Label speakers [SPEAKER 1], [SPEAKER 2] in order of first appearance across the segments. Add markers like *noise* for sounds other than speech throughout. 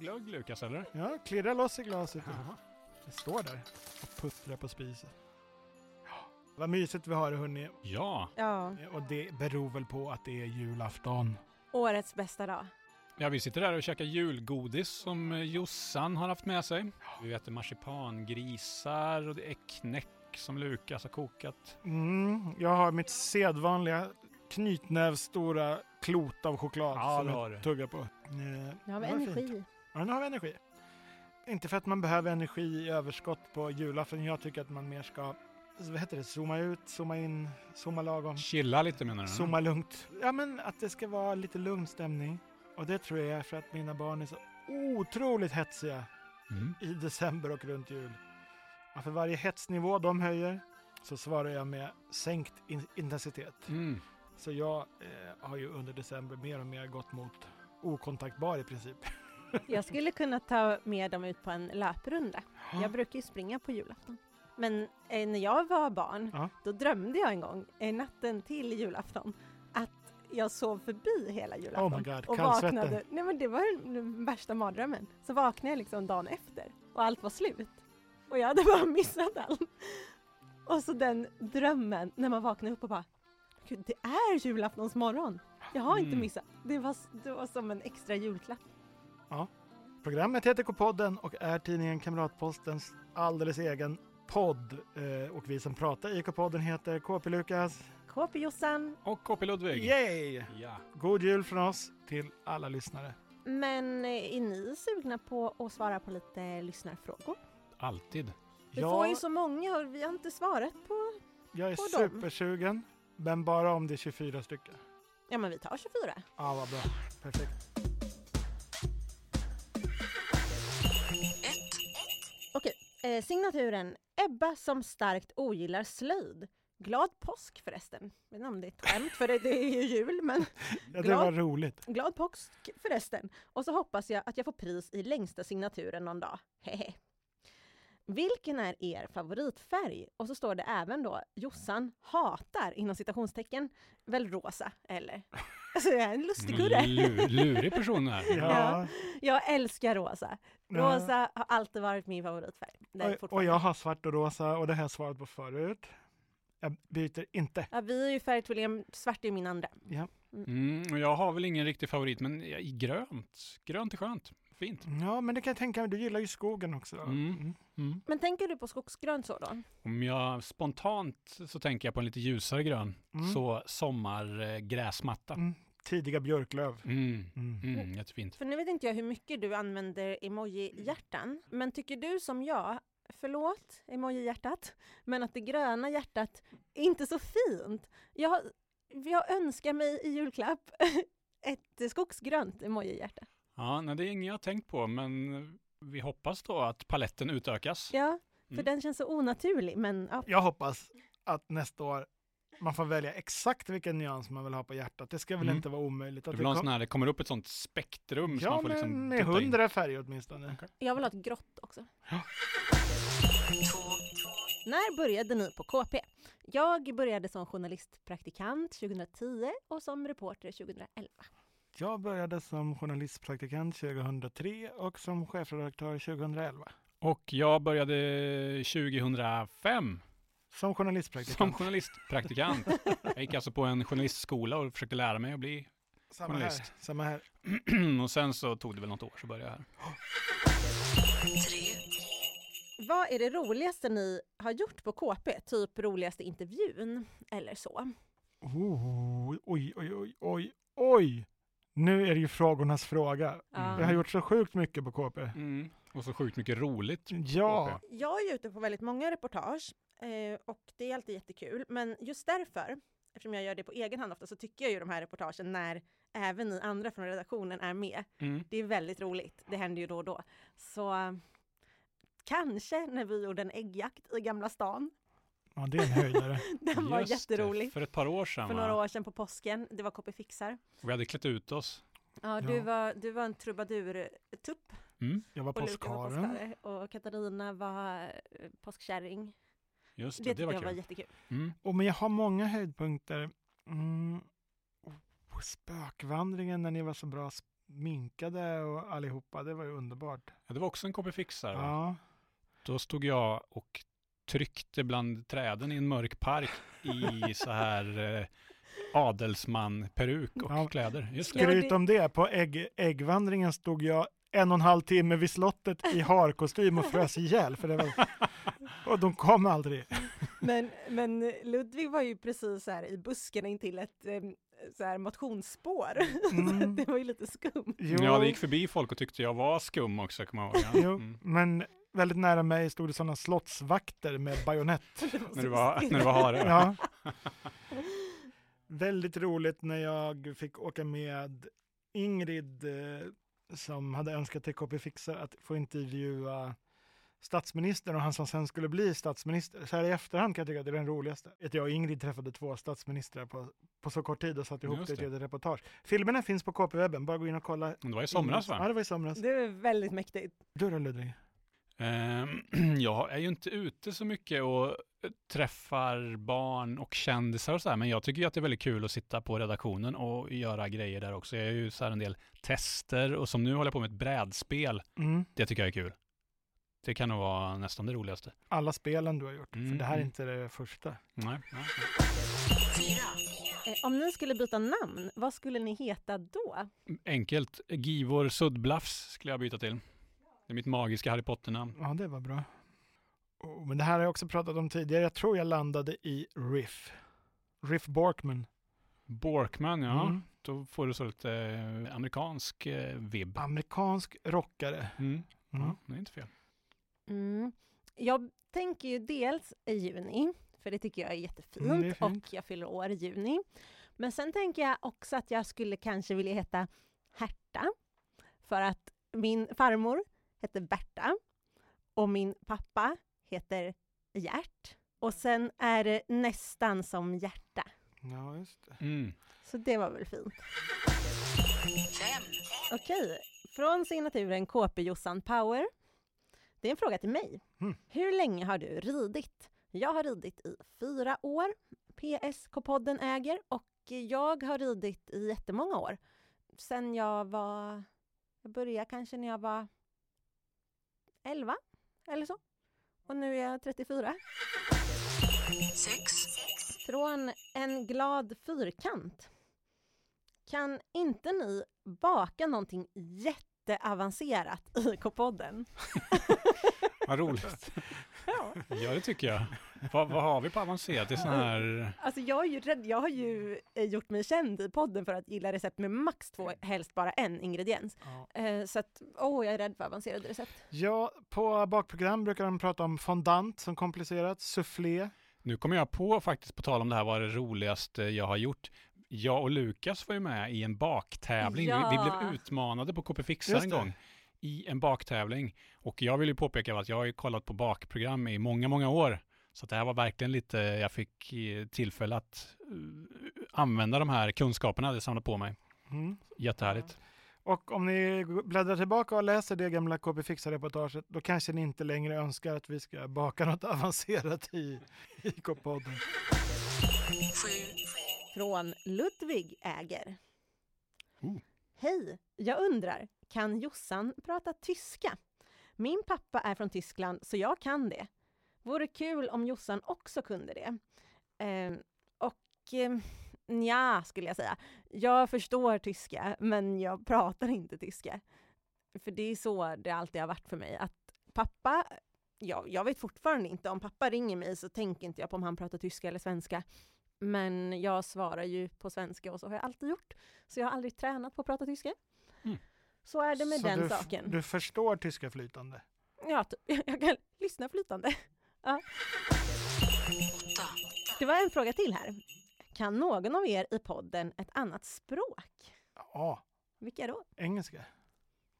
[SPEAKER 1] stod Lukas eller?
[SPEAKER 2] Ja, klirrar loss i glaset.
[SPEAKER 1] Jaha.
[SPEAKER 2] Det står där och puttrar på spisen. Vad mysigt vi har det hörni.
[SPEAKER 1] Ja,
[SPEAKER 3] Ja,
[SPEAKER 2] Och det beror väl på att det är julafton.
[SPEAKER 3] årets bästa dag.
[SPEAKER 1] ja vi sitter där och käkar julgodis som eh, Jossan har haft med sig. Vi äter marsipangrisar och det är knäck som Lukas har kokat.
[SPEAKER 2] Mm, jag har mitt sedvanliga knytnävstora klot av choklad
[SPEAKER 1] Ja,
[SPEAKER 2] som
[SPEAKER 1] det
[SPEAKER 2] jag
[SPEAKER 1] har du.
[SPEAKER 2] tuggar på. Eh,
[SPEAKER 3] Nu har vi
[SPEAKER 2] det var fint.
[SPEAKER 3] energi.
[SPEAKER 2] Ja, nu har vi energi. Inte för att man behöver energi i överskott på julafton. Jag tycker att man mer ska, vad heter det, zooma ut, zooma in, zooma lagom.
[SPEAKER 1] Chilla lite menar du?
[SPEAKER 2] Zooma lugnt. Ja, men att det ska vara lite lugn stämning. Och det tror jag är för att mina barn är så otroligt hetsiga
[SPEAKER 1] Mm.
[SPEAKER 2] i *laughs* december och runt jul. Ja, för varje hetsnivå de höjer så svarar jag med sänkt in- intensitet.
[SPEAKER 1] Mm.
[SPEAKER 2] Så jag eh, har ju under december mer och mer gått mot okontaktbar i princip.
[SPEAKER 3] Jag skulle kunna ta med dem ut på en löprunda. Jag brukar ju springa på julafton. Men eh, när jag var barn,
[SPEAKER 2] *laughs* Ja.
[SPEAKER 3] då drömde jag en gång, eh, natten till julafton, att jag sov förbi hela julafton.
[SPEAKER 2] Oh my god,
[SPEAKER 3] och
[SPEAKER 2] kallsvetten.
[SPEAKER 3] vaknade. Nej men det var den- den värsta mardrömmen. Så vaknade jag liksom dagen efter och allt var slut. Och jag hade *laughs* bara missat allt. Och så den drömmen när man vaknade upp och bara Gud, det är julaftonsmorgon. Jag har inte
[SPEAKER 1] Mm.
[SPEAKER 3] missat. Det var, s- det var som en extra julklapp.
[SPEAKER 2] Programmet heter K-podden och är tidningen Kamratpostens alldeles egen podd. Eh, och vi som pratar i K-podden heter KP Lukas.
[SPEAKER 3] KP Jossan.
[SPEAKER 1] Och KP Ludvig.
[SPEAKER 2] Yay!
[SPEAKER 1] Ja.
[SPEAKER 2] God jul från oss till alla lyssnare.
[SPEAKER 3] Men eh, är ni sugna på att svara på lite lyssnarfrågor?
[SPEAKER 1] Alltid.
[SPEAKER 3] Vi
[SPEAKER 2] Ja.
[SPEAKER 3] får ju så många och vi har inte svarat på...
[SPEAKER 2] Jag är
[SPEAKER 3] på dem.
[SPEAKER 2] supersugen, men bara om det är 24 stycken.
[SPEAKER 3] Ja men vi tar 24.
[SPEAKER 2] Ja, vad bra. Perfekt.
[SPEAKER 3] Eh, signaturen Ebba som starkt ogillar slöjd. Glad påsk förresten. Jag vet inte om det är ett skämt för det, det är ju jul men *laughs*
[SPEAKER 2] Ja, det
[SPEAKER 3] Glad.
[SPEAKER 2] var
[SPEAKER 3] *laughs*
[SPEAKER 2] roligt.
[SPEAKER 3] glad påsk förresten. Och så hoppas jag att jag får pris i längsta signaturen någon dag. *laughs* Hehe. Vilken är er favoritfärg? Och så står det även då Jossan hatar inom citationstecken väl rosa eller? *laughs* Alltså jag är en lustigkurre.
[SPEAKER 1] Mm, Lu- lurig person det *laughs* här.
[SPEAKER 2] Ja.
[SPEAKER 3] *laughs* Jag älskar rosa.
[SPEAKER 2] Ja.
[SPEAKER 3] Rosa har alltid varit min favoritfärg. Det är
[SPEAKER 2] Och, och
[SPEAKER 3] fortfarande.
[SPEAKER 2] jag har svart och rosa och det har jag svarat på förut. Jag byter inte.
[SPEAKER 3] Ja, vi är ju färgtvillingar, svart är ju min andra.
[SPEAKER 1] Mm, och jag har väl ingen riktig favorit, men jag- i grönt. Grönt är skönt. Fint.
[SPEAKER 2] Ja, men det kan jag tänka mig. Du gillar ju skogen också.
[SPEAKER 1] Mm. Mm.
[SPEAKER 3] Men tänker du på skogsgrönt så då?
[SPEAKER 1] Om jag spontant så tänker jag på en lite ljusare grön.
[SPEAKER 2] Mm.
[SPEAKER 1] Så sommargräsmatta.
[SPEAKER 2] Mm. Tidiga björklöv.
[SPEAKER 1] Mm.
[SPEAKER 2] Mm.
[SPEAKER 1] Mm, jättefint.
[SPEAKER 3] För nu vet inte jag hur mycket du använder emoji-hjärtan, men tycker du som jag, förlåt emoji-hjärtat, men att det gröna hjärtat är inte så fint? Jag, jag önskar mig i julklapp *laughs* ett skogsgrönt emoji-hjärta.
[SPEAKER 1] Ja, nej, det är inget jag har tänkt på, men vi hoppas då att paletten utökas.
[SPEAKER 3] Ja, för
[SPEAKER 1] Mm.
[SPEAKER 3] den känns så onaturlig, men ja.
[SPEAKER 2] Jag hoppas att nästa år man får välja exakt vilken nyans man vill ha på hjärtat. Det ska väl
[SPEAKER 1] Mm.
[SPEAKER 2] inte vara omöjligt.
[SPEAKER 1] Det
[SPEAKER 2] Att
[SPEAKER 1] blir en
[SPEAKER 2] kom-
[SPEAKER 1] sån här, det kommer upp ett sånt spektrum som
[SPEAKER 2] ja,
[SPEAKER 1] man får liksom
[SPEAKER 2] men med
[SPEAKER 1] titta in.
[SPEAKER 2] hundra färger åtminstone.
[SPEAKER 3] Jag vill ha ett grått också.
[SPEAKER 2] Ja.
[SPEAKER 3] När började ni på KP? Jag började som journalistpraktikant 2010 och som reporter 2011.
[SPEAKER 2] Jag började som journalistpraktikant 2003 och som chefredaktör 2011.
[SPEAKER 1] Och jag började 2005
[SPEAKER 2] Som
[SPEAKER 1] som
[SPEAKER 2] journalistpraktikant.
[SPEAKER 1] journalistpraktikant. Jag gick alltså på en journalistskola och försökte lära mig att bli *clears throat*
[SPEAKER 2] samma,
[SPEAKER 1] journalist.
[SPEAKER 2] Här, samma här.
[SPEAKER 1] och sen så tog det väl något år så började jag här.
[SPEAKER 3] Vad är det roligaste ni har gjort på KP? Typ roligaste intervjun eller
[SPEAKER 2] Mm.
[SPEAKER 3] så?
[SPEAKER 2] Oh, oj, oj, oj, oj, oj! Nu är det ju frågornas fråga.
[SPEAKER 1] Ja.
[SPEAKER 2] Jag har gjort så sjukt mycket på KP.
[SPEAKER 1] Mm. Och så sjukt mycket roligt.
[SPEAKER 2] Ja,
[SPEAKER 3] Jag är ute på väldigt många reportage eh, och det är alltid jättekul. Men just därför, eftersom jag gör det på egen hand ofta, så tycker jag ju de här reportagen när även ni andra från redaktionen är med.
[SPEAKER 1] Mm.
[SPEAKER 3] Det är väldigt roligt. Det händer ju då och då. Så eh, kanske när vi gjorde en äggjakt i Gamla stan.
[SPEAKER 2] ja det är en höjdare.
[SPEAKER 3] Den var
[SPEAKER 1] Just det,
[SPEAKER 3] jätterolig.
[SPEAKER 1] För ett par år sedan.
[SPEAKER 3] För
[SPEAKER 1] va?
[SPEAKER 3] några år sedan på påsken. Det var KP Fixar.
[SPEAKER 1] Och vi hade klätt ut oss.
[SPEAKER 3] Ja, du,
[SPEAKER 2] Ja.
[SPEAKER 3] Var, du var en trubadurtupp
[SPEAKER 1] Mm. *laughs*
[SPEAKER 2] Jag var
[SPEAKER 3] Och Lukas var
[SPEAKER 2] påskharen.
[SPEAKER 3] påskare och Katarina var eh, påskkärring.
[SPEAKER 1] Just
[SPEAKER 3] Det,
[SPEAKER 1] det, det,
[SPEAKER 3] tyckte
[SPEAKER 1] var
[SPEAKER 3] jag var
[SPEAKER 1] kul.
[SPEAKER 3] jättekul.
[SPEAKER 1] Mm.
[SPEAKER 2] Och men jag har många höjdpunkter. Mm. Oh, spökvandringen när ni var så bra sp- minkade och allihopa. Det var ju underbart.
[SPEAKER 1] Ja, det var också en KB Fixare. va?
[SPEAKER 2] Ja.
[SPEAKER 1] Då stod jag och tryckte bland träden i en mörk park i så här eh, adelsman-peruk och
[SPEAKER 2] Ja.
[SPEAKER 1] kläder. Just det.
[SPEAKER 3] Ja,
[SPEAKER 2] Skryt
[SPEAKER 3] det-
[SPEAKER 2] om det. På ägg, äggvandringen stod jag en och en halv timme vid slottet i harkostym och frös ihjäl. För det var...
[SPEAKER 3] *laughs*
[SPEAKER 2] Och de kom aldrig.
[SPEAKER 3] Men, men Ludvig var ju precis så här i busken intill ett em, så här motionsspår. *laughs* så
[SPEAKER 2] Mm.
[SPEAKER 3] att det var ju lite skumt.
[SPEAKER 2] Jo,
[SPEAKER 1] Ja, det gick förbi folk och tyckte jag var skum också, kommer jag ihåg. Ja.
[SPEAKER 2] jo.
[SPEAKER 1] Mm.
[SPEAKER 2] men väldigt nära mig stod det sådana slottsvakter med bajonett.
[SPEAKER 1] När du
[SPEAKER 2] *laughs*
[SPEAKER 1] var, när du var hare. Ja.
[SPEAKER 2] Ja. Väldigt roligt när jag fick åka med Ingrid eh, som hade önskat till KP Fixar att få intervjua statsministern och han som sen skulle bli statsminister. Så här i efterhand kan jag tycka att det är den roligaste. Att jag och Ingrid träffade två statsministrar på, på så kort tid och satte ihop
[SPEAKER 1] Just
[SPEAKER 2] det till
[SPEAKER 1] det.
[SPEAKER 2] ett reportage. Filmerna finns på KP-webben, bara gå in och kolla.
[SPEAKER 1] Det var i somras va?
[SPEAKER 2] Ja, det var i somras.
[SPEAKER 3] Det är väldigt mäktigt.
[SPEAKER 2] Du då Ludvig?
[SPEAKER 1] Ehm, *clears throat* Jag är ju inte ute så mycket och eh, träffar barn och kändisar och så här, men jag tycker ju att det är väldigt kul att sitta på redaktionen och göra grejer där också. Jag gör ju så här en del tester och som nu håller jag på med ett brädspel.
[SPEAKER 2] Mm.
[SPEAKER 1] Det tycker jag är kul. Det kan nog vara nästan det roligaste.
[SPEAKER 2] Alla spelen du har gjort,
[SPEAKER 1] Mm,
[SPEAKER 2] för det här är
[SPEAKER 1] mm.
[SPEAKER 2] inte det första.
[SPEAKER 1] Nej, nej.
[SPEAKER 3] Eh, Om ni skulle byta namn, vad skulle ni heta då?
[SPEAKER 1] Enkelt. Givor Suddblafs skulle jag byta till. Det är mitt magiska Harry Potter-namn.
[SPEAKER 2] Ja, det var bra. Oh, men det här har jag också pratat om tidigare. Jag tror jag landade i Riff. Riff Borkman.
[SPEAKER 1] Borkman, ja.
[SPEAKER 2] Mm.
[SPEAKER 1] Då får du så lite eh, amerikansk eh, vibb.
[SPEAKER 2] Amerikansk rockare.
[SPEAKER 1] Mm.
[SPEAKER 2] Mm.
[SPEAKER 1] Ja, det är inte fel.
[SPEAKER 3] Mm. Jag tänker ju dels i juni, för det tycker jag är jättefint
[SPEAKER 2] Mm, det är fint.
[SPEAKER 3] och jag fyller år i juni. Men sen tänker jag också att jag skulle kanske vilja heta Herta, för att min farmor heter Berta och min pappa heter Gert. Och sen är det nästan som hjärta.
[SPEAKER 2] Ja, just det.
[SPEAKER 1] Mm.
[SPEAKER 3] Så det var väl fint. Okej, från signaturen KP-Jossan Power. Det är en fråga till mig.
[SPEAKER 2] Mm.
[SPEAKER 3] Hur länge har du ridit? Jag har ridit i fyra år. PSK-podden äger och jag har ridit i jättemånga år. Sen jag var... Jag började kanske när jag var 11 eller så. Och nu är jag 34. Från en glad fyrkant. Kan inte ni baka någonting jätteavancerat i K-podden?
[SPEAKER 1] Vad roligt.
[SPEAKER 3] *laughs* Ja.
[SPEAKER 1] Ja, det tycker jag. Vad, vad har vi på avancerat? Det är sån här...
[SPEAKER 3] Alltså jag, är ju rädd, jag har ju eh, gjort mig känd i podden för att gilla recept med max två, helst bara en ingrediens.
[SPEAKER 2] Ja.
[SPEAKER 3] Eh, så att, åh, jag är rädd för avancerade recept.
[SPEAKER 2] ja, på bakprogram brukar de prata om fondant som komplicerat, soufflé.
[SPEAKER 1] Nu kommer jag på faktiskt, på tal om det här, vad det roligaste jag har gjort. Jag och Lukas var ju med i en baktävling. Vi, vi
[SPEAKER 3] Ja.
[SPEAKER 1] blev utmanade på KP Fixar
[SPEAKER 2] Just
[SPEAKER 1] en
[SPEAKER 2] det.
[SPEAKER 1] gång i en baktävling. Och jag vill ju påpeka att jag har ju kollat på bakprogram i många, många år. Så att det här var verkligen lite, jag fick eh, tillfälle att eh, använda de här kunskaperna jag samlat på mig.
[SPEAKER 2] Mm.
[SPEAKER 1] Jättehärligt.
[SPEAKER 2] Och om ni bläddrar tillbaka och läser det gamla KP Fixar-reportaget, då kanske ni inte längre önskar att vi ska baka något *laughs* avancerat i, i K-podden.
[SPEAKER 3] Från Ludvig Äger.
[SPEAKER 1] Oh.
[SPEAKER 3] Hej! Jag undrar, kan Jossan prata tyska? Min pappa är från Tyskland, så jag kan det. Vore kul om Jossan också kunde det. Ehm, och eh, ja, skulle jag säga. Jag förstår tyska, men jag pratar inte tyska. För det är så det alltid har varit för mig, att pappa Ja, jag vet fortfarande inte, om pappa ringer mig så tänker inte jag på om han pratar tyska eller svenska. Men jag svarar ju på svenska och så har jag alltid gjort. Så jag har aldrig tränat på att prata tyska.
[SPEAKER 1] Mm.
[SPEAKER 3] Så är det med
[SPEAKER 2] Så
[SPEAKER 3] den
[SPEAKER 2] du, f-
[SPEAKER 3] saken.
[SPEAKER 2] Du förstår tyska flytande.
[SPEAKER 3] Ja, typ. *laughs* jag kan lyssna flytande. Ja. Det var en fråga till här. Kan någon av er i podden ett annat språk?
[SPEAKER 2] Ja,
[SPEAKER 3] Vilka då?
[SPEAKER 2] engelska.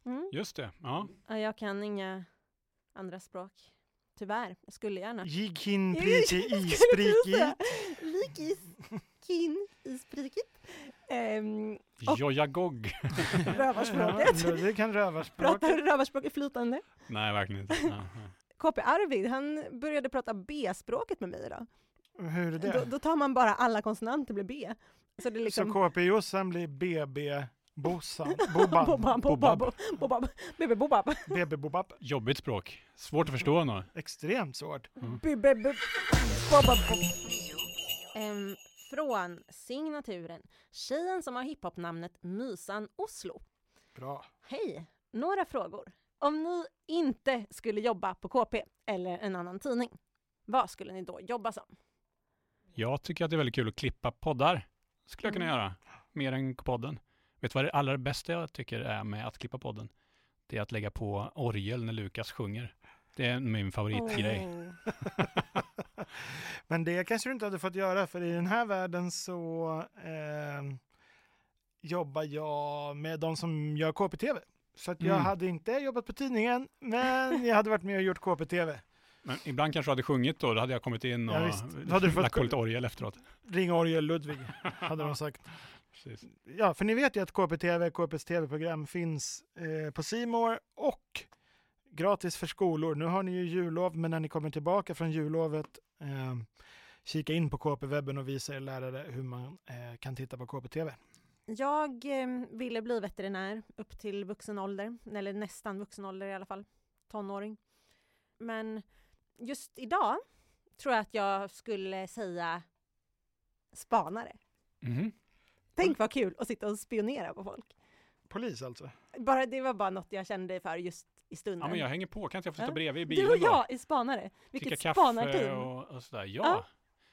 [SPEAKER 3] Mm.
[SPEAKER 1] Just det. Ja.
[SPEAKER 3] Ja, Jag kan inga andra språk. Tyvärr, jag skulle gärna.
[SPEAKER 2] Gick hin
[SPEAKER 3] *laughs* Jag
[SPEAKER 2] priti
[SPEAKER 3] skulle
[SPEAKER 2] i
[SPEAKER 3] precis
[SPEAKER 2] spriki.
[SPEAKER 3] säga, Likis, kin, isprikit.
[SPEAKER 2] *clears throat*
[SPEAKER 3] Ehm, Och-
[SPEAKER 1] Jojagog.
[SPEAKER 3] rövarspråket.
[SPEAKER 2] Ja, det kan rövarspråk.
[SPEAKER 3] *laughs* Pratar rövarspråket flytande.
[SPEAKER 1] Nej, verkligen inte. Ja, ja.
[SPEAKER 3] KP Arvid, han började prata B-språket med mig idag.
[SPEAKER 2] Hur är det?
[SPEAKER 3] Då, då tar man bara alla konsonanter blir B. Så det är liksom...
[SPEAKER 2] Så KP-Jossan blir BB Bossan,
[SPEAKER 3] *laughs*
[SPEAKER 2] Boban,
[SPEAKER 3] Bobab, Bobab, Bobab, Bibbe Bobab.
[SPEAKER 2] BB Bobab.
[SPEAKER 1] Jobbigt språk. Svårt att förstå nog.
[SPEAKER 2] Extremt svårt.
[SPEAKER 3] Bibbe Bobab. Ehm, Från signaturen Tjejen som har hiphop-namnet Mysan Oslo.
[SPEAKER 2] Bra.
[SPEAKER 3] Hej! Några frågor. Om ni inte skulle jobba på KP eller en annan tidning, vad skulle ni då jobba som?
[SPEAKER 1] Jag tycker att det är väldigt kul att klippa poddar. Skulle jag kunna
[SPEAKER 3] Mm.
[SPEAKER 1] göra. Mer än podden. Vet du vad det allra bästa jag tycker är med att klippa podden? Det är att lägga på orgel när Lukas sjunger. Det är min favoritgrej.
[SPEAKER 3] Oh.
[SPEAKER 2] Men det kanske du inte hade fått göra för i den här världen så eh, jobbar jag med de som gör KPTV. Så att jag
[SPEAKER 1] Mm.
[SPEAKER 2] hade inte jobbat på tidningen, men jag hade varit med och gjort KPTV.
[SPEAKER 1] Men ibland kanske du hade sjungit då, då hade jag kommit in och
[SPEAKER 2] Ja, visst. Då hade du fått-
[SPEAKER 1] lagt på lite orgel efteråt.
[SPEAKER 2] Ring Orgel Ludvig, hade de sagt.
[SPEAKER 1] Precis.
[SPEAKER 2] Ja, för ni vet ju att KPTV, KPs tv-program finns eh, på Simor och gratis för skolor. Nu har ni ju jullov, men när ni kommer tillbaka från jullovet, eh, kika in på KP-webben och visa er lärare hur man eh, kan titta på KPTV.
[SPEAKER 3] Jag eh, ville bli veterinär upp till vuxen ålder, eller nästan vuxen ålder i alla fall, tonåring. Men just idag tror jag att jag skulle säga spanare.
[SPEAKER 1] Mhm.
[SPEAKER 3] Tänk vad kul att sitta och spionera på folk.
[SPEAKER 2] Polis alltså.
[SPEAKER 3] Bara, det var bara något jag kände för just i stunden.
[SPEAKER 1] Ja, men jag hänger på. Kan inte jag få sitta
[SPEAKER 3] Ja.
[SPEAKER 1] bredvid i bilen
[SPEAKER 3] du och
[SPEAKER 1] då?
[SPEAKER 3] jag är spanare.
[SPEAKER 1] Dricka
[SPEAKER 3] Vilket
[SPEAKER 1] kaffe
[SPEAKER 3] spanarteam.
[SPEAKER 1] och, och sådär. Ja,
[SPEAKER 3] Ja.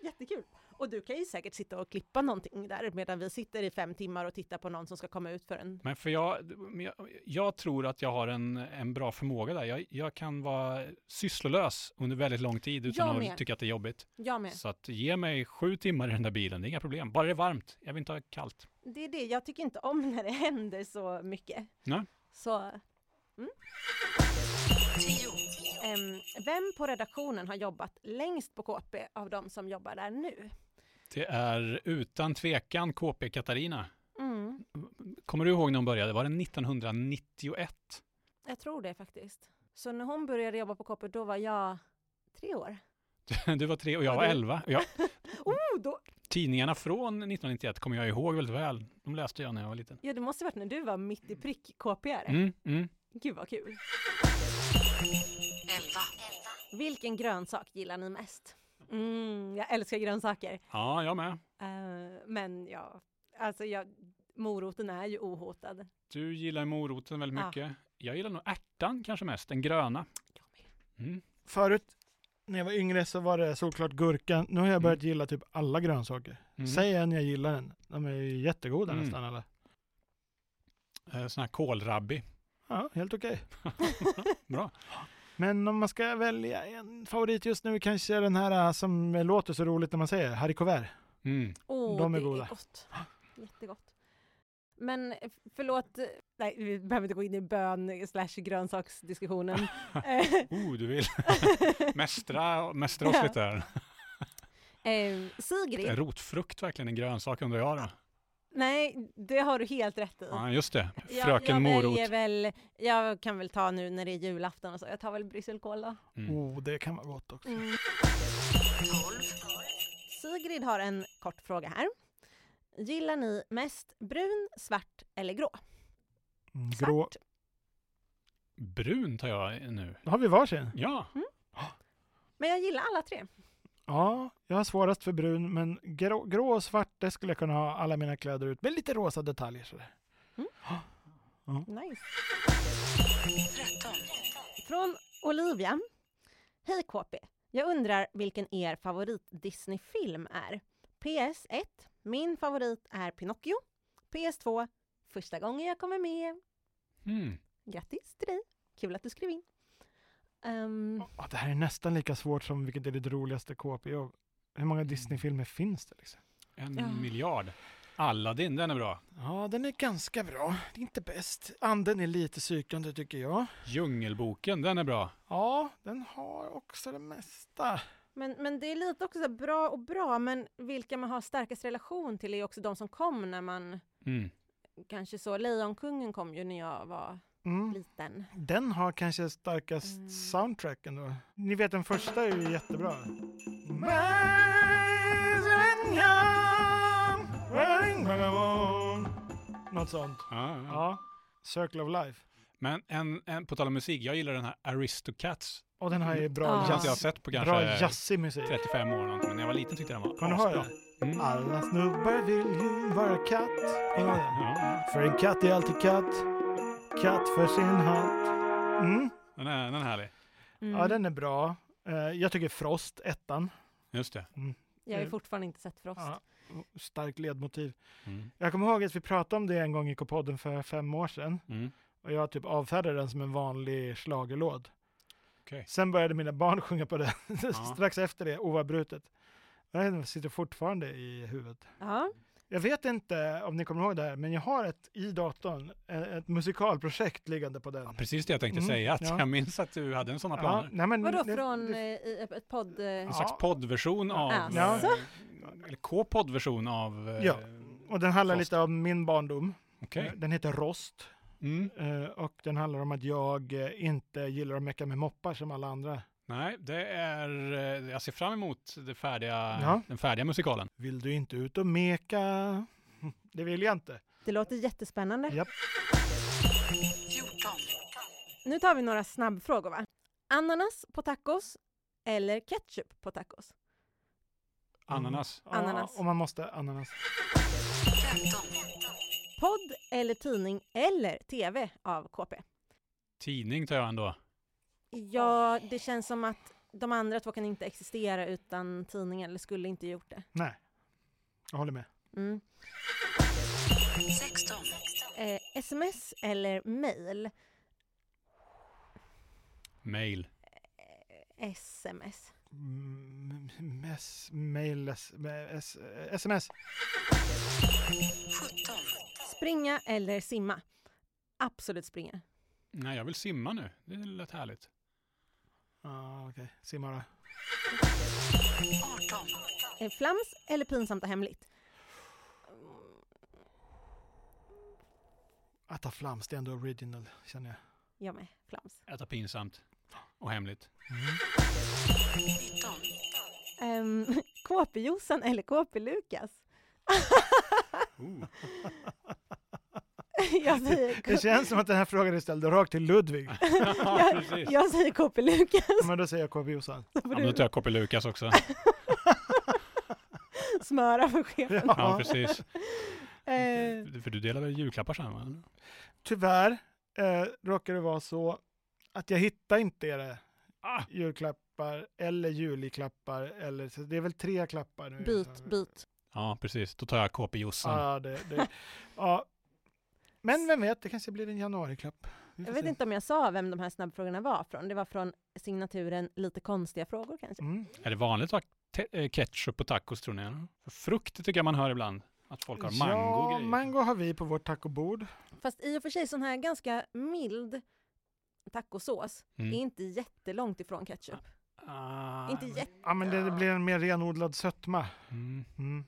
[SPEAKER 3] Jättekul. Och du kan ju säkert sitta och klippa någonting där medan vi sitter i fem timmar och tittar på någon som ska komma ut för en.
[SPEAKER 1] men för jag, men jag, jag tror att jag har en, en bra förmåga där. Jag, jag kan vara sysslolös under väldigt lång tid utan
[SPEAKER 3] Jag
[SPEAKER 1] att
[SPEAKER 3] med.
[SPEAKER 1] tycka att det är jobbigt.
[SPEAKER 3] Jag med.
[SPEAKER 1] Så att ge mig sju timmar i den där bilen, det är inga problem. Bara det är varmt. Jag vill inte ha kallt.
[SPEAKER 3] Det är det, jag tycker inte om när det *laughs* händer så mycket.
[SPEAKER 1] Nej.
[SPEAKER 3] Så... Mm. Em, vem på redaktionen har jobbat längst på KP av de som jobbar där nu?
[SPEAKER 1] Det är utan tvekan KP Katarina.
[SPEAKER 3] Mm,
[SPEAKER 1] Kommer du ihåg när hon började? Var det 1991?
[SPEAKER 3] jag tror det faktiskt. Så när hon började jobba på KP, då var jag tre år.
[SPEAKER 1] Du var tre och jag var
[SPEAKER 3] det-
[SPEAKER 1] elva. Och Jag,
[SPEAKER 3] Oh, då,
[SPEAKER 1] tidningarna från 1991 kommer jag ihåg väldigt väl. De läste jag när jag var liten.
[SPEAKER 3] ja, det måste varit när du var mitt i prick KP-are.
[SPEAKER 1] Mm, mm.
[SPEAKER 3] Gud vad kul. Vilken grönsak gillar ni mest? Mm, jag älskar grönsaker.
[SPEAKER 1] Ja, jag med.
[SPEAKER 3] Eh, men ja, alltså jag, moroten är ju ohotad.
[SPEAKER 1] Du gillar moroten väldigt
[SPEAKER 3] Ja.
[SPEAKER 1] mycket. Jag gillar nog ärtan kanske mest, den gröna. Mm.
[SPEAKER 2] Förut när jag var yngre så var det såklart gurkan. Nu har jag börjat gilla typ alla grönsaker.
[SPEAKER 1] Mm.
[SPEAKER 2] Säg en jag gillar den. De är ju jättegoda
[SPEAKER 1] Mm.
[SPEAKER 2] nästan alla.
[SPEAKER 1] Eh, Sån här kålrabbi.
[SPEAKER 2] Ja, helt okej. *laughs*
[SPEAKER 1] Bra.
[SPEAKER 2] Men om man ska välja en favorit just nu kanske den här äh, som låter så roligt när man säger Harry Covert.
[SPEAKER 1] Mm.
[SPEAKER 3] Oh,
[SPEAKER 2] De är
[SPEAKER 3] det
[SPEAKER 2] goda.
[SPEAKER 3] Är gott. Jättegott. Men eh, förlåt, eh, nej, vi behöver inte gå in i bön slash grönsaksdiskussionen.
[SPEAKER 2] *laughs*
[SPEAKER 3] Eh,
[SPEAKER 1] *laughs* Oh, du vill mästra, mästra oss
[SPEAKER 3] Ja.
[SPEAKER 1] lite här.
[SPEAKER 3] *laughs* eh,
[SPEAKER 1] Är
[SPEAKER 3] Sigrid,
[SPEAKER 1] rotfrukt verkligen en grönsak undrar jag då?
[SPEAKER 3] nej, det har du helt rätt i.
[SPEAKER 1] Ja, just det.
[SPEAKER 3] Jag-
[SPEAKER 1] Fröken
[SPEAKER 3] jag,
[SPEAKER 1] morot.
[SPEAKER 3] väljer väl, jag kan väl ta nu när det är julafton och så, jag tar väl brysselkål då. Mm.
[SPEAKER 1] Mm.
[SPEAKER 2] Oh, det kan vara gott också.
[SPEAKER 3] Sigrid har en kort fråga här. Gillar ni mest brun, svart eller grå?
[SPEAKER 2] Mm,
[SPEAKER 3] Svart.
[SPEAKER 2] Grå.
[SPEAKER 1] Brun tar jag nu.
[SPEAKER 2] Då har vi varsin.
[SPEAKER 1] Ja,
[SPEAKER 3] Men jag gillar alla tre.
[SPEAKER 2] Ja, jag har svårast för brun, men grå, grå och svart, det skulle jag kunna ha alla mina kläder ut med lite rosa detaljer sådär.
[SPEAKER 3] Nice. Från Olivia. Hej KP. Jag undrar vilken er favorit Disney-film är? PS1. Min favorit är Pinocchio. PS2. Första gången jag kommer med.
[SPEAKER 1] mm.
[SPEAKER 3] Grattis till dig. Kul att du skrev in. Ehm,
[SPEAKER 2] Åh, det här är nästan lika svårt som vilket är ditt roligaste KP-jobb. Hur många Disney-filmer finns det? Liksom?
[SPEAKER 1] en
[SPEAKER 3] Ja.
[SPEAKER 1] miljard. Aladdin, den är bra.
[SPEAKER 2] Ja, den är ganska bra. Det är inte bäst. Anden är lite psykande tycker jag.
[SPEAKER 1] Djungelboken, den är bra.
[SPEAKER 2] Ja, den har också det mesta.
[SPEAKER 3] Men, men det är lite också så här bra och bra, men vilka man har starkast relation till är också de som kom när man
[SPEAKER 1] Mm.
[SPEAKER 3] kanske så, Lejonkungen kom ju när jag var
[SPEAKER 2] Mm.
[SPEAKER 3] liten.
[SPEAKER 2] Den har kanske starkast
[SPEAKER 3] Mm.
[SPEAKER 2] soundtrack ändå. Ni vet den första är ju jättebra. Något sånt.
[SPEAKER 1] Ja, ja.
[SPEAKER 2] Ja. Circle of Life.
[SPEAKER 1] Men en, en, på tal om musik, jag gillar den här Aristocats.
[SPEAKER 2] Och den här är bra
[SPEAKER 3] Ah.
[SPEAKER 1] Den har inte jag
[SPEAKER 2] jazz.
[SPEAKER 1] sett på
[SPEAKER 2] Bra
[SPEAKER 1] Mm. kanske
[SPEAKER 2] jazzig musik.
[SPEAKER 1] 35 år eller någonting, men när jag var liten tyckte jag den var
[SPEAKER 2] Kan du höra?
[SPEAKER 1] asbra. Mm. Ja,
[SPEAKER 2] Alla snubbar vill ju vara katt. Ja.
[SPEAKER 1] ja.
[SPEAKER 2] För en katt är alltid katt. Katt för sin hatt. Mm.
[SPEAKER 1] Den är, den är härlig.
[SPEAKER 3] Mm.
[SPEAKER 2] Ja, den är bra. Eh, Jag tycker Frost, ettan.
[SPEAKER 1] Just det.
[SPEAKER 3] Mm. Jag har ju fortfarande inte sett Frost.
[SPEAKER 2] Ja. Stark ledmotiv.
[SPEAKER 1] Mm.
[SPEAKER 2] Jag kommer ihåg att vi pratade om det en gång i K-podden för fem år sedan.
[SPEAKER 1] Mm.
[SPEAKER 2] Och jag typ avfärdade den som en vanlig schlagerlåd.
[SPEAKER 1] Okej.
[SPEAKER 2] Sen började mina barn *laughs* sjunga på den strax efter det, oavbrutet. Den sitter fortfarande i huvudet.
[SPEAKER 3] Ja.
[SPEAKER 2] Jag vet inte om ni kommer ihåg det här, men jag har ett i datorn, eh, ett musikalprojekt liggande på den.
[SPEAKER 1] Precis det jag tänkte
[SPEAKER 2] Mm,
[SPEAKER 1] säga, att
[SPEAKER 2] ja.
[SPEAKER 1] jag minns att du hade en sådana planer.
[SPEAKER 2] nej, men,
[SPEAKER 3] Vadå
[SPEAKER 2] det-
[SPEAKER 3] från
[SPEAKER 2] Mm, det-
[SPEAKER 3] eh, i ett podd? eh,
[SPEAKER 1] En slags
[SPEAKER 2] Ja.
[SPEAKER 1] poddversion av...
[SPEAKER 3] Alltså?
[SPEAKER 1] eh, Eller K-poddversion av... eh,
[SPEAKER 2] Ja. Och den handlar
[SPEAKER 1] Frost.
[SPEAKER 2] lite om min barndom.
[SPEAKER 1] Okej.
[SPEAKER 2] Eh, Den heter Rost
[SPEAKER 1] Mm.
[SPEAKER 2] eh, och den handlar om att jag eh, inte gillar att mecka med moppar som alla andra.
[SPEAKER 1] Nej, det är... eh, Jag ser fram emot det färdiga,
[SPEAKER 2] Ja.
[SPEAKER 1] den färdiga musikalen.
[SPEAKER 2] Vill du inte ut och meka? *laughs* Det vill jag inte.
[SPEAKER 3] Det låter jättespännande.
[SPEAKER 2] Japp.
[SPEAKER 3] Nu tar vi några snabbfrågor va? Ananas på tacos eller ketchup på tacos?
[SPEAKER 2] Mm.
[SPEAKER 1] Ananas.
[SPEAKER 2] Ja,
[SPEAKER 3] Ananas.
[SPEAKER 2] om man måste, ananas.
[SPEAKER 3] Podd eller tidning eller TV av KP?
[SPEAKER 1] Tidning tar jag ändå.
[SPEAKER 3] Ja, det känns som att de andra två kan inte existera utan tidningen, eller skulle inte gjort det.
[SPEAKER 2] Nej, jag håller med.
[SPEAKER 3] Mm. Eh, sms eller mail?
[SPEAKER 1] Mail.
[SPEAKER 3] Sms.
[SPEAKER 2] Mm, mess, mail, s, s, sms.
[SPEAKER 3] Springa eller simma? Absolut springa.
[SPEAKER 1] Nej, jag vill simma nu. Det lät härligt.
[SPEAKER 2] Ah, Okej, simma då.
[SPEAKER 3] Eh, flams eller pinsamt och hemligt?
[SPEAKER 2] Att Ah, ta flams, det är ändå original känner jag.
[SPEAKER 3] Jag med, flams.
[SPEAKER 1] Äta pinsamt. Och hemligt.
[SPEAKER 3] *laughs* Um, KP-Jossan eller KP-Lukas?
[SPEAKER 1] Oh.
[SPEAKER 3] *laughs* jag säger,
[SPEAKER 2] Det känns som att den här frågan är ställd rakt till Ludvig.
[SPEAKER 1] *laughs* ja, precis. Ja,
[SPEAKER 3] jag säger KP-Lukas,
[SPEAKER 2] Men då säger jag KB Jossan.
[SPEAKER 1] men då tar jag Kopi Lukas också.
[SPEAKER 3] *laughs* smöra
[SPEAKER 2] *laughs*
[SPEAKER 3] för chefen.
[SPEAKER 1] Ja, precis.
[SPEAKER 3] Eh,
[SPEAKER 1] För du delar väl julklappar sen? Va?
[SPEAKER 2] Tyvärr eh, råkar det vara så att jag hittar inte era
[SPEAKER 1] Ah.
[SPEAKER 2] julklappar eller juliklappar. Eller, så det är väl tre klappar nu. Eh,
[SPEAKER 3] byt, byt.
[SPEAKER 1] Ja, precis. Då tar jag KP Jossan.
[SPEAKER 2] Ja, det, det, ja. Men vem vet, det kanske blir en januariklapp. Vi får
[SPEAKER 3] Jag vet
[SPEAKER 2] se.
[SPEAKER 3] inte om jag sa vem de här snabbfrågorna var från. Det var från signaturen Lite konstiga frågor kanske.
[SPEAKER 2] Mm.
[SPEAKER 1] Är det vanligt att ha te- eh, ketchup på tacos tror ni? För frukt tycker jag man hör ibland. Att folk har mango och
[SPEAKER 2] ja,
[SPEAKER 1] grejer.
[SPEAKER 2] mango har vi på vårt tacobord.
[SPEAKER 3] Fast i och för sig sån här ganska mild tacosås
[SPEAKER 1] Mm.
[SPEAKER 3] är inte jättelångt ifrån ketchup.
[SPEAKER 1] Ah,
[SPEAKER 3] inte
[SPEAKER 1] men-
[SPEAKER 3] jätte...
[SPEAKER 2] Ja, men det, det blir en mer renodlad sötma.
[SPEAKER 1] Mm.
[SPEAKER 2] Mm.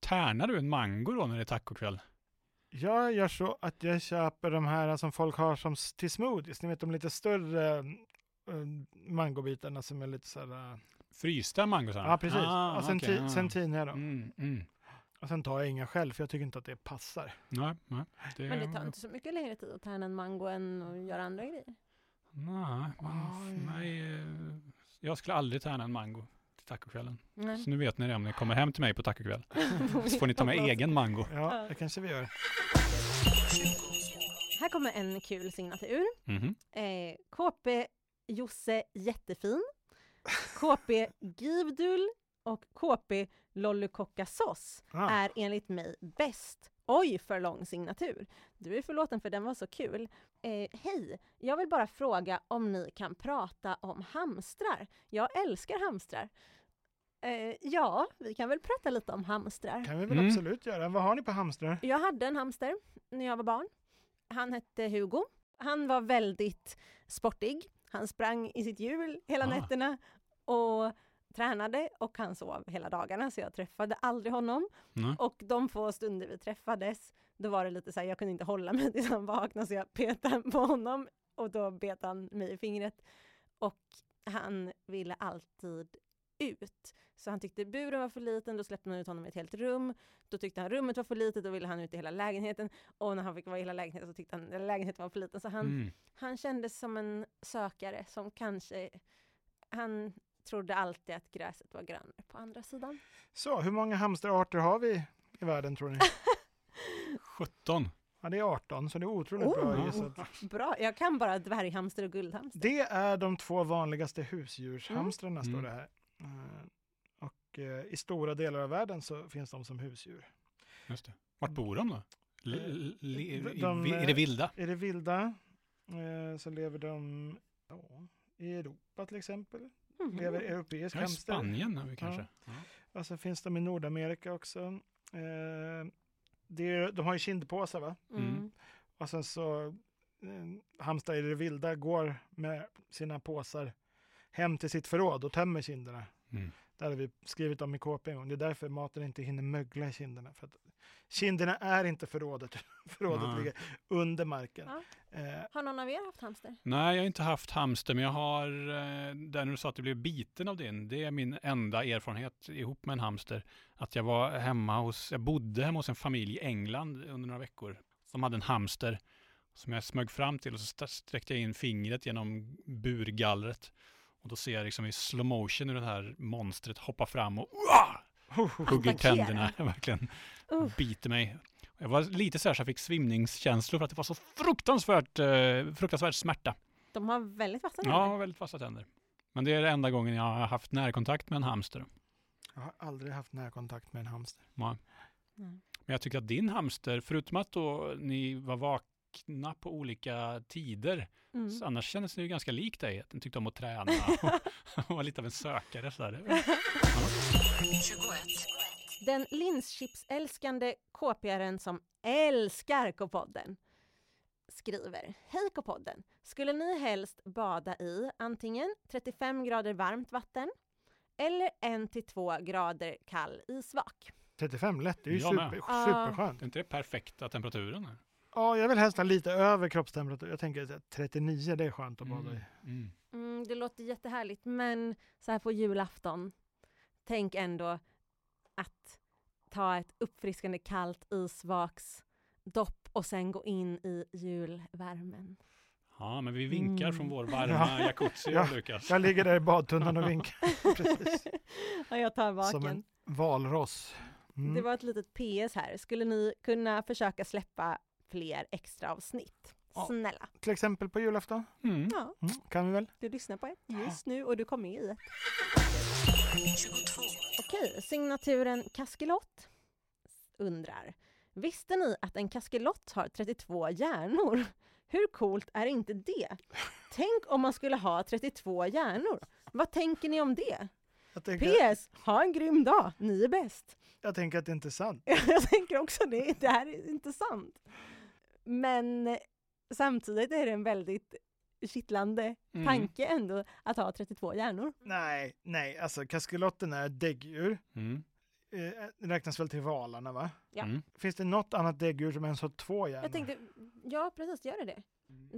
[SPEAKER 1] Tärnar du en mango då när det är tacokväll?
[SPEAKER 2] Jag gör så att jag köper de här som folk har som s- till smoothies, ni vet de lite större eh, mangobitarna som är lite så här. eh,
[SPEAKER 1] Frysta mangosar?
[SPEAKER 2] Ja, precis.
[SPEAKER 1] Ah,
[SPEAKER 2] och sen,
[SPEAKER 1] okej,
[SPEAKER 2] ti-
[SPEAKER 1] ah.
[SPEAKER 2] sen tinar jag dem.
[SPEAKER 1] Mm, mm.
[SPEAKER 2] Och sen tar jag inga själv, för jag tycker inte att det passar.
[SPEAKER 1] Nej, nej. Det,
[SPEAKER 3] Men det tar inte så mycket längre tid att tärna en mango än att göra andra grejer.
[SPEAKER 1] Nej, men för
[SPEAKER 2] Oj.
[SPEAKER 1] mig, eh, jag skulle aldrig tärna en mango till tacokvällen.
[SPEAKER 3] Nej.
[SPEAKER 2] Mm.
[SPEAKER 1] Så nu vet ni det om ni kommer hem till mig på tacokväll. Så får ni
[SPEAKER 3] *laughs*
[SPEAKER 1] ta med egen mango.
[SPEAKER 2] *laughs* Ja,
[SPEAKER 3] Ja.
[SPEAKER 2] det kanske vi gör.
[SPEAKER 3] Här kommer en kul signatur.
[SPEAKER 1] Mhm.
[SPEAKER 3] Eh, KP Josse Jättefin, KP Givdul och KP Lollykockasås
[SPEAKER 2] Ah,
[SPEAKER 3] är enligt mig bäst. Oj, för lång signatur. Du är förlåten för den var så kul. Eh, Hej, jag vill bara fråga om ni kan prata om hamstrar. Jag älskar hamstrar. Eh, ja, vi kan väl prata lite om hamstrar.
[SPEAKER 2] kan vi väl
[SPEAKER 1] Mm.
[SPEAKER 2] absolut göra. Vad har ni på hamstrar?
[SPEAKER 3] Jag hade en hamster när jag var barn. Han hette Hugo. Han var väldigt sportig. Han sprang i sitt hjul hela
[SPEAKER 1] Ah.
[SPEAKER 3] nätterna och tränade och han sov hela dagarna så jag träffade aldrig honom.
[SPEAKER 1] Nej.
[SPEAKER 3] Och de få stunder vi träffades, då var det lite så här, jag kunde inte hålla mig tills han vaknade så jag petade på honom och då bet han mig i fingret. Och han ville alltid ut. Så han tyckte buren var för liten, då släppte man ut honom i ett helt rum. Då tyckte han rummet var för litet, då ville han ut i hela lägenheten. Och när han fick vara i hela lägenheten så tyckte han att lägenheten var för liten. Så han,
[SPEAKER 1] Mm.
[SPEAKER 3] han kändes som en sökare som kanske, han trodde alltid att gräset var grönare på andra sidan.
[SPEAKER 2] Så, hur många hamsterarter har vi i världen tror ni?
[SPEAKER 1] 17.
[SPEAKER 2] Ja, det är 18, så det är otroligt bra
[SPEAKER 3] Oh.
[SPEAKER 2] gissat.
[SPEAKER 3] Bra, jag kan bara dvärghamster och guldhamster.
[SPEAKER 2] Det är de två vanligaste husdjurshamstrarna
[SPEAKER 1] Mm.
[SPEAKER 2] står det här. Eh, Och eh, i stora delar av världen så finns de som husdjur.
[SPEAKER 1] Just det. Vart bor de då? L-
[SPEAKER 2] Eh,
[SPEAKER 1] l- l- i,
[SPEAKER 2] de,
[SPEAKER 1] i, I det
[SPEAKER 2] eh,
[SPEAKER 1] vilda?
[SPEAKER 2] I det vilda eh, så lever de ja, i Europa till exempel.
[SPEAKER 3] Mhm.
[SPEAKER 2] Lever europeisk
[SPEAKER 1] Mm. Ja, I
[SPEAKER 2] hamster.
[SPEAKER 1] Spanien har vi kanske. Ja.
[SPEAKER 2] Och så Alltså, finns de i Nordamerika också. Eh, det är, de har ju kindpåsar va?
[SPEAKER 1] Mm.
[SPEAKER 2] Och sen så eh, hamstrar i det vilda går med sina påsar hem till sitt förråd och tömmer kinderna.
[SPEAKER 1] Mm.
[SPEAKER 2] Det hade vi skrivit om i KP en gång. Det är därför maten inte hinner mögla i kinderna. För att kinderna är inte förrådet. *laughs* förrådet
[SPEAKER 1] Nej.
[SPEAKER 2] ligger under marken.
[SPEAKER 3] Ja.
[SPEAKER 2] Eh,
[SPEAKER 3] Har någon av er haft hamster?
[SPEAKER 1] Nej, jag har inte haft hamster, men jag har, eh, där när du sa att du blev biten av din, det är min enda erfarenhet ihop med en hamster. Att jag var hemma hos, jag bodde hemma hos en familj i England under några veckor. Som hade en hamster som jag smög fram till och så st- sträckte jag in fingret genom burgallret. Och då ser jag liksom i slow motion hur det här monstret hoppar fram och uah,
[SPEAKER 2] oh,
[SPEAKER 1] hugger
[SPEAKER 3] Attackerar.
[SPEAKER 1] tänderna. *laughs* Verkligen
[SPEAKER 3] Uff.
[SPEAKER 1] biter mig. Jag var lite så här så jag fick svimningskänslor för att det var så fruktansvärt, eh, fruktansvärt smärta.
[SPEAKER 3] De har väldigt vassa
[SPEAKER 1] Ja, väldigt fasta tänder. Men det är det enda gången jag har haft närkontakt med en hamster.
[SPEAKER 2] jag har aldrig haft närkontakt med en hamster.
[SPEAKER 3] tänder.
[SPEAKER 1] Men jag tycker att din hamster, förutom att då ni var vakna på olika tider,
[SPEAKER 3] Mm.
[SPEAKER 1] så annars kändes ni ju ganska lik dig. att Den tyckte om att
[SPEAKER 3] *laughs*
[SPEAKER 1] träna och var lite av en sökare. Så där.
[SPEAKER 3] Den linschips-älskande kåpigaren som älskar K-podden skriver Hej K-podden! Skulle ni helst bada i antingen 35 grader varmt vatten eller 1-2 grader kall isvak?
[SPEAKER 2] 35 lätt, det är ju
[SPEAKER 1] Jag med.
[SPEAKER 2] super,
[SPEAKER 3] Ah.
[SPEAKER 2] superskönt.
[SPEAKER 1] Är inte det perfekta temperaturen? Här?
[SPEAKER 2] Ja, jag vill helst ha lite över kroppstemperatur. Jag tänker så här, 39, det är skönt att bada i.
[SPEAKER 1] Mm.
[SPEAKER 3] Mm, det låter jättehärligt, men så här på julafton, tänk ändå att ta ett uppfriskande kallt isvaksdopp och sen gå in i julvärmen.
[SPEAKER 1] Ja, men vi vinkar
[SPEAKER 2] Mm.
[SPEAKER 1] från vår varma jacuzzi,
[SPEAKER 2] *laughs* Ja.
[SPEAKER 1] Lukas.
[SPEAKER 2] Jag ligger där i badtunnan och vinkar. Precis.
[SPEAKER 3] ja, jag tar
[SPEAKER 2] Som
[SPEAKER 3] vaken.
[SPEAKER 2] en *laughs* valross. Mm.
[SPEAKER 3] Det var ett litet PS här. Skulle ni kunna försöka släppa fler extra avsnitt?
[SPEAKER 2] Ja.
[SPEAKER 3] Snälla.
[SPEAKER 2] Till exempel på julafton.
[SPEAKER 1] Mm.
[SPEAKER 3] Ja,
[SPEAKER 2] Mm. Kan vi väl?
[SPEAKER 3] du lyssnar på ett just nu och du kommer med i ett. Okej, signaturen Kaskelott undrar. Visste ni att en kaskelott har 32 hjärnor? Hur coolt är inte det? Tänk om man skulle ha 32 hjärnor. Vad tänker ni om det?
[SPEAKER 2] Jag tänker,
[SPEAKER 3] PS. Ha en grym dag. Ni är bäst.
[SPEAKER 2] jag tänker att det inte är sant.
[SPEAKER 3] *laughs* Jag tänker också det, det här är inte sant. Men samtidigt är det en väldigt kittlande
[SPEAKER 1] Mm.
[SPEAKER 3] tanke ändå att ha 32 hjärnor.
[SPEAKER 2] Nej, nej, alltså kaskelotten är ett däggdjur.
[SPEAKER 1] Mm.
[SPEAKER 2] Eh, räknas väl till valarna va?
[SPEAKER 3] Ja.
[SPEAKER 1] Mm.
[SPEAKER 2] Finns det något annat däggdjur som ens har två hjärnor?
[SPEAKER 3] Jag tänkte, ja precis, gör det det?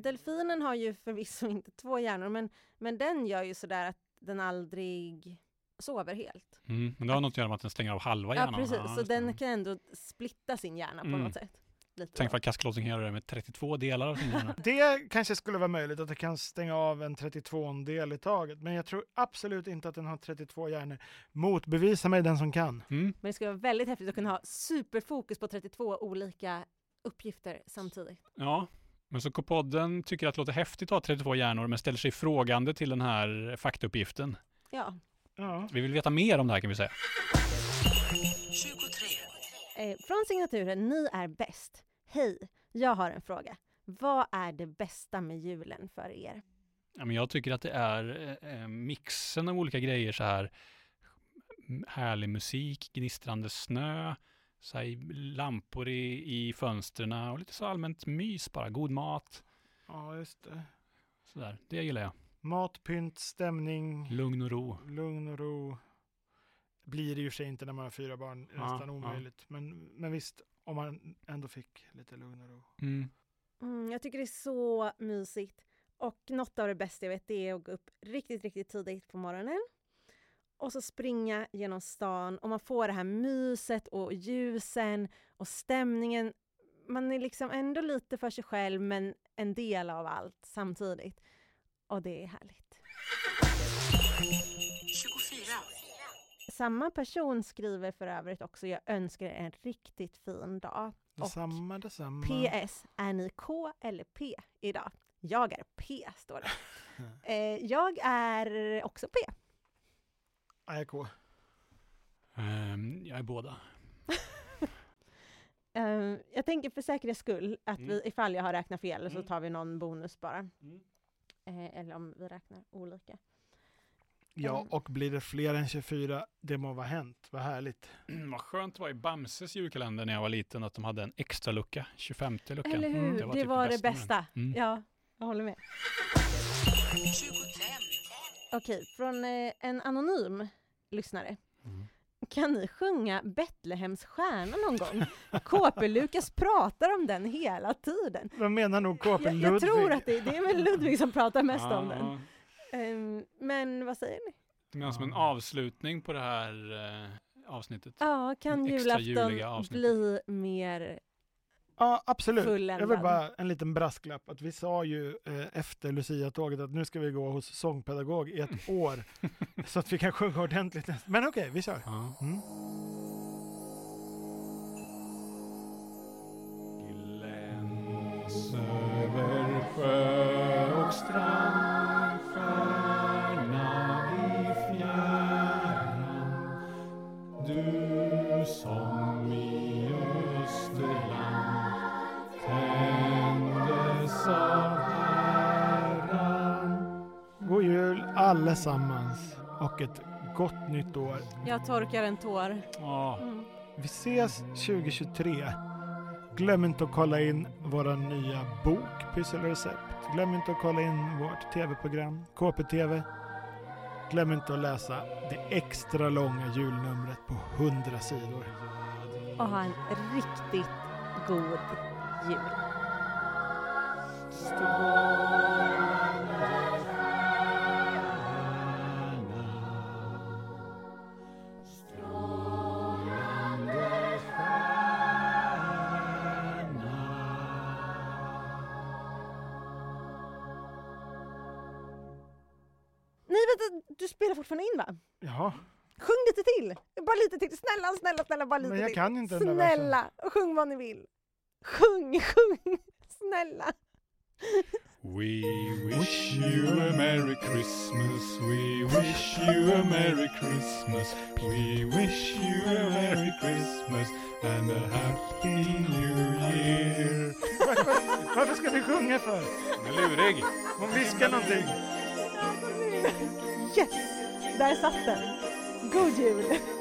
[SPEAKER 3] Delfinen har ju förvisso inte två hjärnor, men, men den gör ju sådär att den aldrig sover helt.
[SPEAKER 1] Mm. Men det har något att göra med att den stänger av halva
[SPEAKER 3] Ja
[SPEAKER 1] hjärnan.
[SPEAKER 3] precis, så
[SPEAKER 1] just det.
[SPEAKER 3] den kan ändå splitta sin hjärna på
[SPEAKER 1] Mm.
[SPEAKER 3] något sätt. Lite
[SPEAKER 1] Tänk
[SPEAKER 3] då.
[SPEAKER 1] vad kasklossen kan göra det med 32 delar av sin hjärna.
[SPEAKER 2] Det kanske skulle vara möjligt att det kan stänga av en 32-del i taget, men jag tror absolut inte att den har 32 hjärnor. Motbevisa mig den som kan.
[SPEAKER 1] Mm.
[SPEAKER 3] *laughs* Men det skulle vara väldigt häftigt att kunna ha superfokus på 32 olika uppgifter samtidigt.
[SPEAKER 1] Ja, men så K-podden tycker att det låter häftigt att ha 32 hjärnor men ställer sig frågande till den här faktauppgiften.
[SPEAKER 3] Ja.
[SPEAKER 2] Ja.
[SPEAKER 1] Vi vill veta mer om det här kan vi säga.
[SPEAKER 3] Eh, från signaturen Ni är bäst. Hej, jag har en fråga. Vad är det bästa med julen för er?
[SPEAKER 1] Ja, men jag tycker att det är eh, eh, mixen av olika grejer så här. m- Härlig musik, gnistrande snö, så här, lampor i, i fönstren och lite så allmänt mys bara. God mat.
[SPEAKER 2] ja, just det.
[SPEAKER 1] Så där. Det gillar jag.
[SPEAKER 2] Mat, pynt, stämning,
[SPEAKER 1] Lugn och ro.
[SPEAKER 3] Mm.
[SPEAKER 2] lugn och ro. Blir det ju i och för sig inte när man har fyra barn,
[SPEAKER 1] Ja,
[SPEAKER 2] nästan
[SPEAKER 1] ja.
[SPEAKER 2] omöjligt. Men, men visst, om man ändå fick lite lugn och ro.
[SPEAKER 1] Mm.
[SPEAKER 3] Mm, jag tycker det är så mysigt. Och något av det bästa jag vet det är att gå upp riktigt, riktigt tidigt på morgonen och så springa genom stan och man får det här myset och ljusen och stämningen. Man är liksom ändå lite för sig själv men en del av allt samtidigt. Och det är härligt.
[SPEAKER 4] 24.
[SPEAKER 3] Samma person skriver för övrigt också, jag önskar er en riktigt fin dag.
[SPEAKER 1] Mm.
[SPEAKER 3] Och
[SPEAKER 2] Detsamma, detsamma.
[SPEAKER 3] PS, är ni K eller P idag? Jag är P,
[SPEAKER 1] *laughs*
[SPEAKER 3] står det. Eh, jag är också P.
[SPEAKER 2] IK.
[SPEAKER 1] Ehm, jag är båda.
[SPEAKER 3] Eh, jag tänker för säkerhets skull att
[SPEAKER 1] Mm.
[SPEAKER 3] vi, ifall jag har räknat fel så
[SPEAKER 1] Mm.
[SPEAKER 3] tar vi någon bonus bara. Eh, eller om vi räknar olika.
[SPEAKER 2] Ja,
[SPEAKER 3] Mm.
[SPEAKER 2] och blir det fler än 24, det må vara hänt. Vad härligt.
[SPEAKER 1] Mm, Vad skönt det var i Bamses julkalender när jag var liten att de hade en extra lucka, 25 luckan.
[SPEAKER 3] Eller hur,
[SPEAKER 2] Mm,
[SPEAKER 3] det
[SPEAKER 1] det
[SPEAKER 3] var
[SPEAKER 1] var
[SPEAKER 3] det,
[SPEAKER 1] typ det bästa med den.
[SPEAKER 3] bästa.
[SPEAKER 1] Mm.
[SPEAKER 3] Ja, jag håller med.
[SPEAKER 4] 25.
[SPEAKER 3] Okej, från eh, en anonym lyssnare.
[SPEAKER 1] Mm.
[SPEAKER 3] Kan ni sjunga Betlehems stjärna någon gång? KP-Lukas pratar om den hela tiden.
[SPEAKER 2] Vad menar nog KP
[SPEAKER 3] Jag, jag
[SPEAKER 2] Ludvig?
[SPEAKER 3] tror att det, det är väl Ludvig som pratar mest om den.
[SPEAKER 1] Ja,
[SPEAKER 3] Ehm, men vad säger ni?
[SPEAKER 1] Ah, Det menar som en
[SPEAKER 2] Ja.
[SPEAKER 1] avslutning på det här eh, avsnittet.
[SPEAKER 3] Ja, kan
[SPEAKER 1] Extra juliga
[SPEAKER 3] julafton
[SPEAKER 1] avsnittet.
[SPEAKER 3] bli mer...
[SPEAKER 2] Ja, absolut. Jag vill
[SPEAKER 3] Fulländad.
[SPEAKER 2] bara en liten brasklapp att vi sa ju eh, efter Lucia-tåget att nu ska vi gå hos sångpedagog i ett
[SPEAKER 3] Mm. *laughs*
[SPEAKER 2] år så att vi kan sjunga ordentligt. nästa- Men okej, vi kör.
[SPEAKER 1] Ja.
[SPEAKER 2] Mm.
[SPEAKER 1] Gläns över sjö och strand Stjärna i fjärran Du som i Österland tändes av Herran
[SPEAKER 2] God jul allesammans och ett gott nytt år.
[SPEAKER 3] Jag torkar en tår.
[SPEAKER 1] Ja,
[SPEAKER 3] Mm.
[SPEAKER 2] Vi ses 2023. Glöm inte att kolla in vår nya bok Pyssel och recept. Glöm inte att kolla in vårt tv-program KPTV. Glöm inte att läsa det extra långa julnumret på 100 sidor.
[SPEAKER 3] Och ha en riktigt god jul. Nej, vänta, du spelar fortfarande in va?
[SPEAKER 2] Jaha,
[SPEAKER 3] Sjung lite till! Bara lite till. Snälla, snälla, snälla, bara lite
[SPEAKER 2] men jag
[SPEAKER 3] till.
[SPEAKER 2] kan inte den där versen.
[SPEAKER 3] Snälla, sjung vad ni vill. Sjung, *laughs* sjung, snälla.
[SPEAKER 1] We wish you a Merry Christmas. We wish you a Merry Christmas. We wish you a Merry Christmas and a Happy New Year.
[SPEAKER 2] Varför, varför ska vi sjunga för?
[SPEAKER 1] Den är lurig.
[SPEAKER 2] Hon viskar någonting.
[SPEAKER 3] Yes, där satt den. God jul!